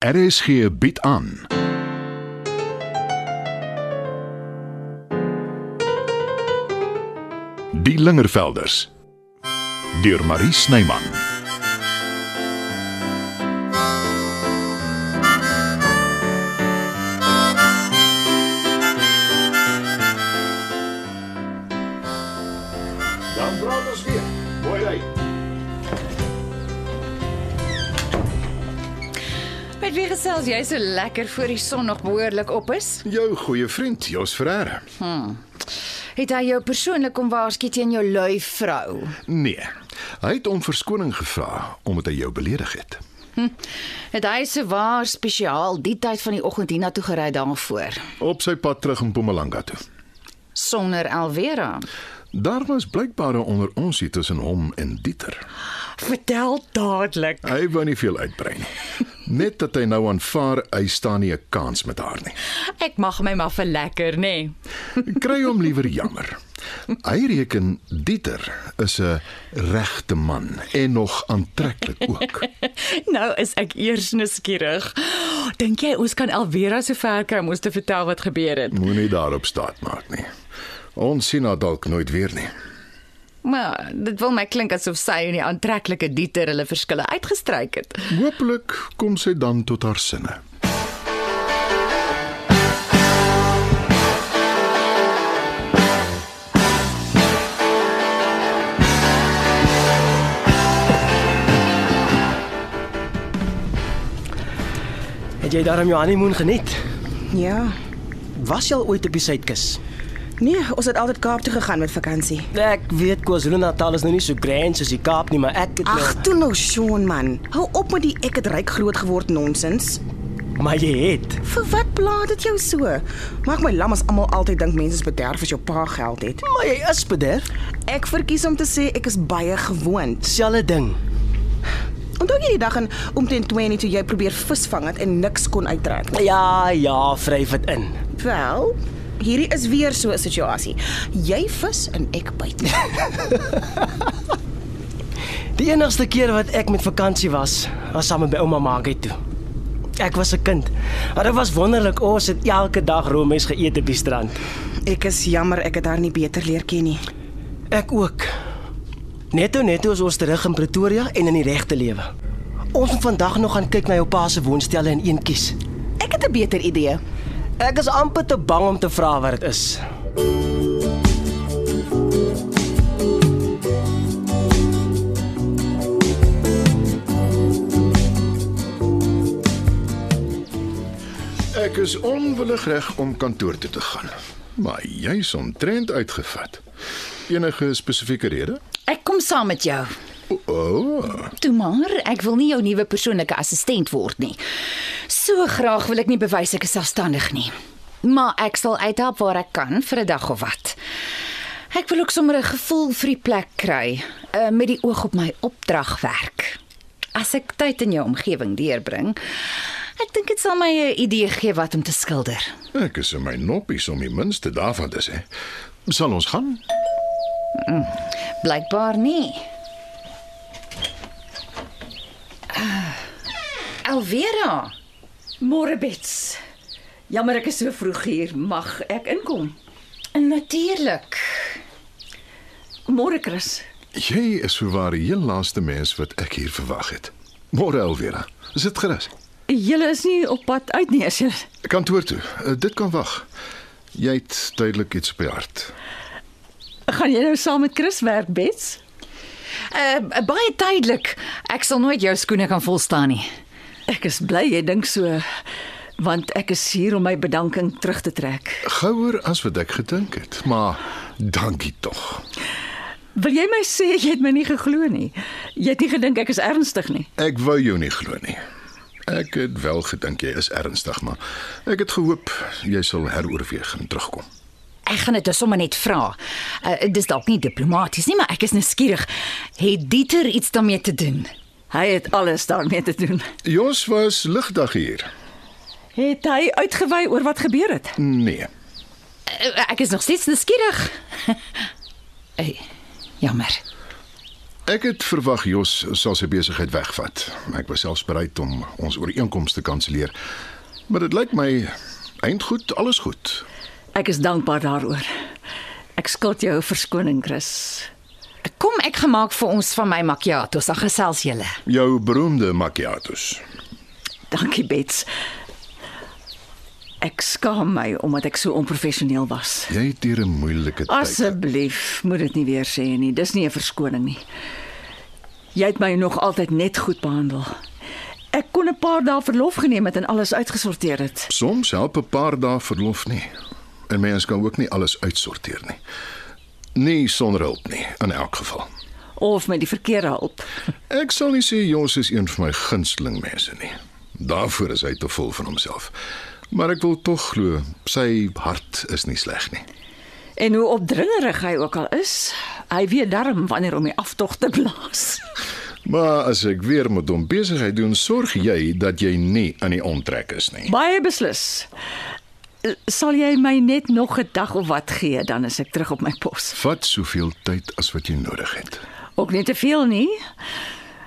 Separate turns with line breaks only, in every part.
RSG bied aan. Die Lingervelders deur Marie Snyman.
Dan praat ons weer. Mooi ry.
Met wie gesels jy so lekker voor die son nog behoorlik op is?
Jou goeie vriend Jos Ferreira.
Het hy jou persoonlik kom waarsku teen jou lui vrou?
Nee. Hy het om verskoning gevra omdat hy jou beledig het.
Het hy se waar spesiaal die tyd van die oggend hiernatoe gery daarvoor
Op sy pad terug in Mpumalanga toe.
sonder Alvera?
Daar was blykbaar 'n onder ons hier tussen hom en Dieter.
Vertel dadelik.
Hy wou nie veel uitbrei nie. Net dat hy nou aanvaar hy staan nie 'n kans met haar nie.
Ek mag my maar vir lekker, nê. Nee.
Kry hom liewer jammer. Hy reken Dieter is 'n regte man en nog aantreklik ook.
Nou is ek eers nuuskierig. Dink jy ons kan Alvera so ver kry om ons te vertel wat gebeur het?
Moenie daarop staat maak nie. Ons sien haar dalk nooit weer nie.
Maar dit wil my klink asof sy en die aantreklike Dieter hulle verskille uitgestryk het.
Hopelik kom sy dan tot haar sinne.
Het jy daarom jou honeymoon geniet?
Ja.
Was jy al ooit op die suidkus?
Nee, ons het altyd Kaap toe gegaan met vakansie.
Ek weet KwaZulu-Natal is nou nie so grand soos die Kaap nie, maar ek het nou-
Ag, toe nou Sean man. Hou op met die ek het ryk groot geword nonsens.
maar jy het.
Vir wat plaat dit jou so? Maak my lam as almal altyd dink mense is bederf as jou pa geld het.
Maar jy is bederf.
Ek verkies om te sê ek is baie gewoond.
Selfe ding.
Onthou jy die dag in omtrent 20 toe jy probeer visvang het en niks kon uittrek?
Ja, ja, vryf dit in.
Wel, hierdie is weer so 'n situasie. Jy vis en ek byt.
Die enigste keer wat ek met vakansie was, was saam met my ouma Margaret toe. Ek was 'n kind. Maar dit was wonderlik. Ons het elke dag roomys geëet op die strand.
Ek is jammer ek het haar nie beter leer ken nie.
Ek ook. Netto netto is ons terug in Pretoria en in die regte lewe. Ons moet vandag nog gaan kyk na jou pa se woonstelle in een kies.
Ek het 'n beter idee.
Ek is amper te bang om te vra wat dit is.
Ek is onwillig reg om kantoor toe te gaan. Maar jy's omtrent uitgevat. Enige spesifieke rede?
Ek kom saam met jou.
O, oh,
Toe maar, ek wil nie jou nuwe persoonlike assistent word nie. So graag wil ek nie bewys ek is selfstandig nie. Maar ek sal uithelp waar ek kan vir 'n dag of wat. Ek wil ook sommer 'n gevoel vir die plek kry, uh, met die oog op my opdragwerk. As ek tyd in jou omgewing deurbring, ek dink dit sal my 'n idee gee wat om te skilder.
ek is in my noppies om die minste daarvan te sê. Sal ons gaan?
Blykbaar nie. Ah, Alvera,
Môre Bets. Jammer ek is so vroeg hier. Mag ek inkom?
natuurlik.
Môre Chris.
Jy is voorwaar die heel laaste mens wat ek hier verwag het. Môre Elvira. Sit gerus.
Julle is nie op pad uit nie, is julle?
Kantoor toe. Eh, Dit kan wag. Jy het duidelik iets op die hart.
Gaan jy nou saam met Chris werk, Bets?
Uh baie tydelik. Ek sal nooit jou skoene kan volstaan nie.
Ek is bly jy dink so, want ek is hier om my bedanking terug te trek.
Gouer as wat ek gedink het, maar dankie tog.
Wil jy my sê jy het my nie geglo nie? Jy het nie gedink ek is ernstig nie.
Ek wou jou nie glo nie. Ek het wel gedink jy is ernstig, maar ek het gehoop jy sal heroorweeg en terugkom.
Ek gaan dit dus sommer net vra. Uh dis dalk nie diplomaties nie, maar ek is nuuskierig. Het Dieter iets daarmee te doen?
Hy het alles daarmee te doen.
Jos was ligdag hier.
Het hy uitgewy oor wat gebeur het?
Nee.
Eh, Uh, ek is nog steeds nuuskierig. Ey, jammer.
Ek het verwag Jos sal sy besigheid wegvat. Ek was selfs bereid om ons ooreenkoms te kanselleer. Maar dit lyk my eindgoed, alles goed.
Ek is dankbaar daaroor. Ek skuld jou 'n verskoning, Chris.
Kom ek gemaak vir ons van my macchiatos, dan gesels julle.
Jou beroemde macchiatos.
Dankie, Bets. Ek skaam my omdat ek so onprofessioneel was.
Jy het hier 'n moeilike tyd.
Asseblief, moet dit nie weer sê nie. Dis nie 'n verskoning nie. Jy het my nog altyd net goed behandel. Ek kon 'n paar dae verlof geneem het en alles uitgesorteer het.
Soms help 'n paar dae verlof nie. En mens kan ook nie alles uitsorteer nie. Nie sonder hulp nie, in elk geval.
Of met die verkeerde hulp.
Ek sal nie sê Jos is een van my gunsteling mense nie. Daarvoor is hy te vol van homself. Maar ek wil tog glo sy hart is nie sleg nie.
En hoe opdringerig hy ook al is, hy weet darm wanneer om die aftog te blaas.
Maar as ek weer met hom besigheid doen, sorg jy dat jy nie aan die onttrek is nie.
Baie beslis. Sal jy my net nog 'n dag of wat gee, dan is ek terug op my pos.
Vat soveel tyd as wat jy nodig het.
Ook nie te veel nie.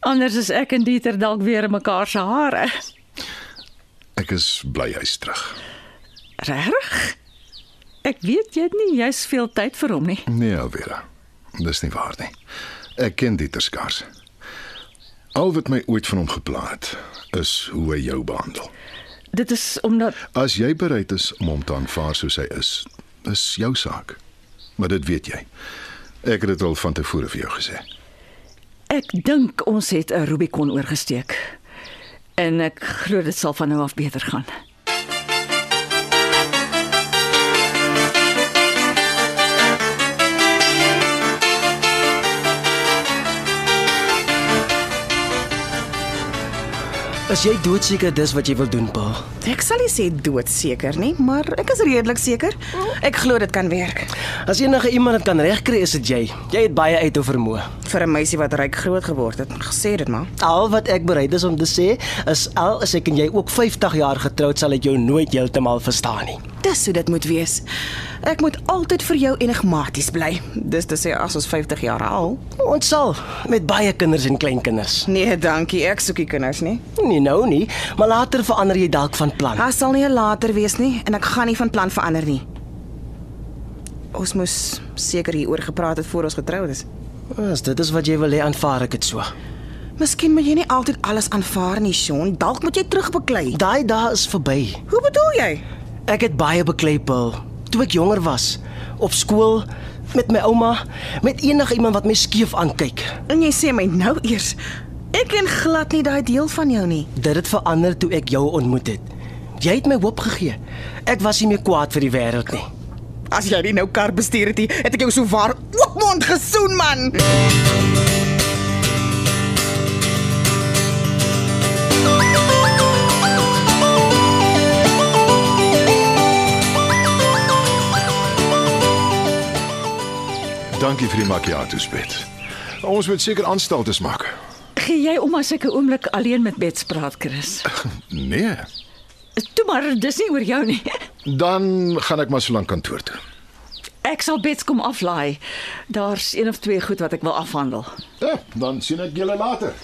Anders is ek en Dieter dalk weer in mekaar se hare.
Ek is bly hy's terug.
Regtig? Ek weet jy het nie juis veel tyd vir hom nie.
Nee, Alvera. Dis nie waar nie. Ek ken Dieter skaars. Al wat my ooit van hom geplaat is hoe hy jou behandel.
Dit is omdat
As jy bereid is om hom te aanvaar soos hy is, is jou saak. Maar dit weet jy. Ek het dit al van tevore vir jou gesê.
ek dink ons het 'n Rubicon oorgesteek. En ek glo dit sal van nou af beter gaan.
As jy doodseker dis wat jy wil doen, pa.
Ek sal nie sê doodseker nie, maar ek is redelik seker. Ek glo dit kan werk.
As enige iemand dit kan regkry, is dit jy. Jy het baie uithou vermoë.
Vir 'n meisie wat ryk groot geword het, gesê dit maar.
Al wat ek bereid is om te sê, is al as ek en jy ook 50 jaar getroud sal ek jou nooit heeltemal verstaan nie.
Dis hoe dit moet wees. Ek moet altyd vir jou enigmaties bly. Dis te sê as ons 50 jaar al.
Ons sal met baie kinders en kleinkinders.
Nee, dankie. Ek soek nie kinders nie.
Nie nou nie, maar later verander jy dalk van plan.
Daar sal nie 'n later wees nie en ek gaan nie van plan verander nie. Ons moes seker hieroor gepraat het voor ons getroud is.
As dit is wat jy wil hê, aanvaar ek dit so.
Miskien moet jy nie altyd alles aanvaar nie, Sean. Dalk moet jy terugbeklei.
Daai dae is verby.
Hoe bedoel jy?
Ek het baie bekleipel toe ek jonger was, op skool, met my ouma, met enige iemand wat my skeef aankyk.
En jy sê my nou eers. Ek ken glad nie daai deel van jou nie.
Dit het verander toe ek jou ontmoet het. Jy het my hoop gegee. Ek was nie meer kwaad vir die wêreld nie.
As jy nie nou kar bestuur het nie, het ek jou so waar oopmond gesoen man.
Dankie vir die macchiato spet. Ons moet seker aanstaltes maak.
Gee jy om as ek 'n oomblik alleen met Bets praat, Chris?
Nee,
Toe maar, dis nie oor jou nie.
dan gaan ek maar so lank kantoor toe.
Ek sal Bets kom aflaai. Daar's een of twee goed wat ek wil afhandel.
Ja, dan sien ek julle later.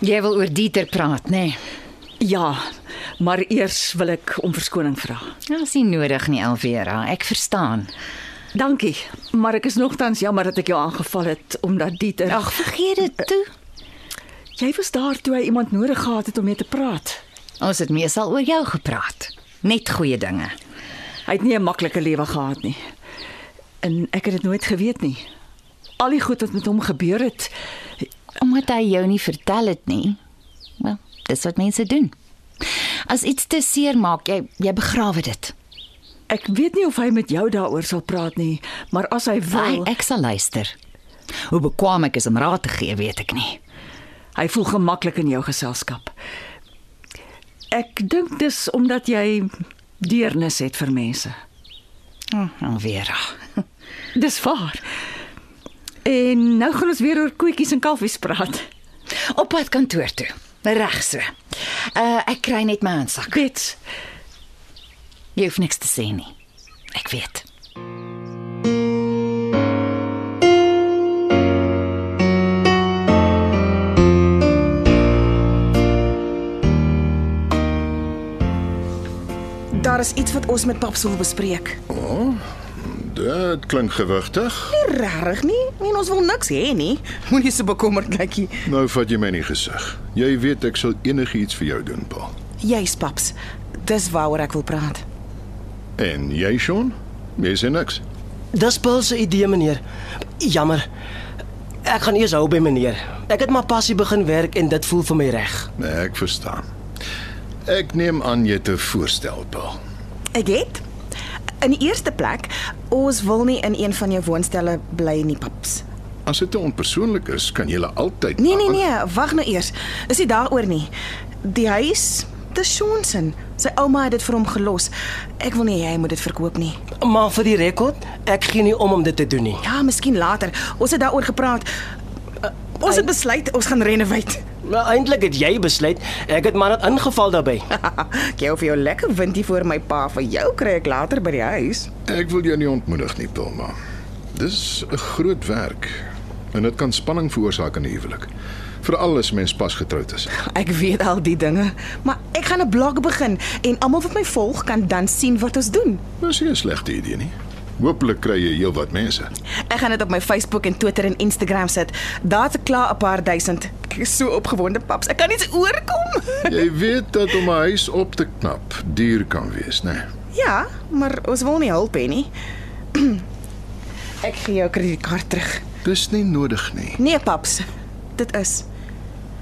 Jy wil oor Dieter praat, nê? Nee?
Ja, maar eers wil ek om verskoning vra.
Ja, is nie nodig nie, Alvera. Ek verstaan.
Dankie, maar ek is nogtans jammer dat ek jou aangeval het omdat Dieter
Ag, vergeet dit toe.
jy was daar toe hy iemand nodig gehad het om mee te praat.
Ons het meestal oor jou gepraat. Net goeie dinge.
Hy het nie 'n maklike lewe gehad nie. En ek het dit nooit geweet nie. Al die goed wat met hom gebeur het,
Omdat hy jou nie vertel het nie. Wel, dis wat mense doen. As iets te seer maak, jy jy begrawe dit.
ek weet nie of hy met jou daaroor sal praat nie, maar as hy
Ai,
wil,
ek sal luister. Hoe bekwam ek is om raad te gee, weet ek nie.
hy voel gemaklik in jou geselskap. Ek dink dis omdat jy deernis het vir mense.
Hm, Alvera.
Dis waar. En nou gaan ons weer oor koetjies en kalfies praat.
Op pad kantoor toe. Reg so. Uh ek kry net my handsak.
Bets,
Jy hoef niks te sê nie. Ek weet.
daar is iets wat ons met paps wil bespreek.
Dit klink gewigtig.
Nie rarig nie. Nee, ons wil niks hê nie. Moenie so bekommerd lykie.
Nou vat jy my nie gesig. Jy weet ek sal enigiets vir jou doen, Paul.
Jy's paps. Dis waaroor ek wil praat.
En jy, Sean? Jy sê niks.
Dis Bill se idee, meneer. Jammer. Ek gaan eers hou by meneer. Ek het maar passie begin werk en dit voel vir my reg.
Nee, ek verstaan. Ek neem aan jy te voorstel, Paul.
Ek het in die eerste plek, ons wil nie in een van jou woonstelle bly nie, paps.
As dit te onpersoonlik is, kan jy altyd
Nee, nee, nee, wag nou eers. Is nie daaroor nie. Die huis, dis Johnson. Sy ouma het dit vir hom gelos. Ek wil nie hy moet dit verkoop nie.
Maar vir die rekord, ek gee nie om om dit te doen nie.
Ja, miskien later. Ons het daaroor gepraat. Uh, Ons het besluit ons gaan renovate.
Nou eintlik het jy besluit. Ek het maar net ingeval daarbey.
Ek gee of jou lekker windie voor my pa vir jou kry ek later by die huis.
Ek wil jou nie ontmoedig nie, Tilma. Dis 'n groot werk en dit kan spanning veroorsaak in 'n huwelik. Veral as mens pas getroud is.
Ek weet al die dinge, maar ek gaan 'n blog begin en almal wat my volg kan dan sien wat ons doen.
Dis Nou nie 'n slegte idee nie. Hooplik kry jy heelwat mense.
Ek gaan dit op my Facebook en Twitter en Instagram sit. Daar's ek klaar 'n paar duisend. Ek is so opgewonde, paps. Ek kan nie eens oorkom.
Jy weet dat om 'n huis op te knap duur kan wees, né? Nee.
ja, maar ons wil nie hulp hê nie. ek gee jou kredietkaart terug.
Dis nie nodig nie.
Nee, paps. Dit is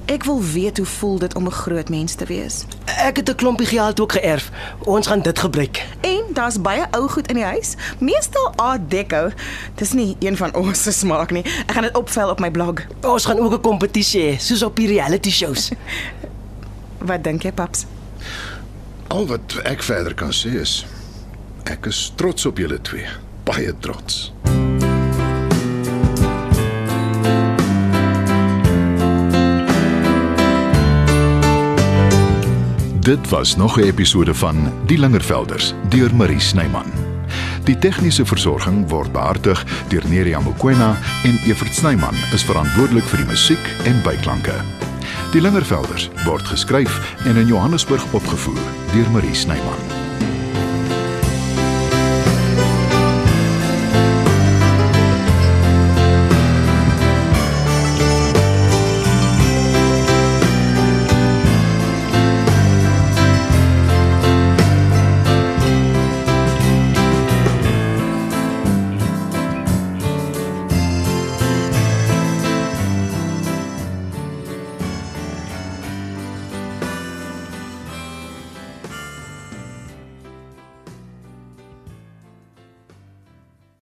Ek wil weet hoe voel dit om 'n groot mens te wees.
Ek het 'n klompie geld ook geërf. Ons gaan dit gebruik.
En daar's baie ou goed in die huis, meestal art deco. Dis nie een van ons se smaak nie. Ek gaan dit opvel op my blog.
Ons gaan ook 'n kompetisie hê, soos op die reality shows.
Wat dink jy, paps?
Al wat ek verder kan sê is ek is trots op julle twee. Baie trots.
Dit was nog 'n episode van Die Lingervelders deur Marie Snyman. Die tegniese versorging word behartig deur Neriya Mkwena en Evert Snyman is verantwoordelik vir die musiek en byklanke. Die Lingervelders word geskryf en in Johannesburg opgevoer deur Marie Snyman.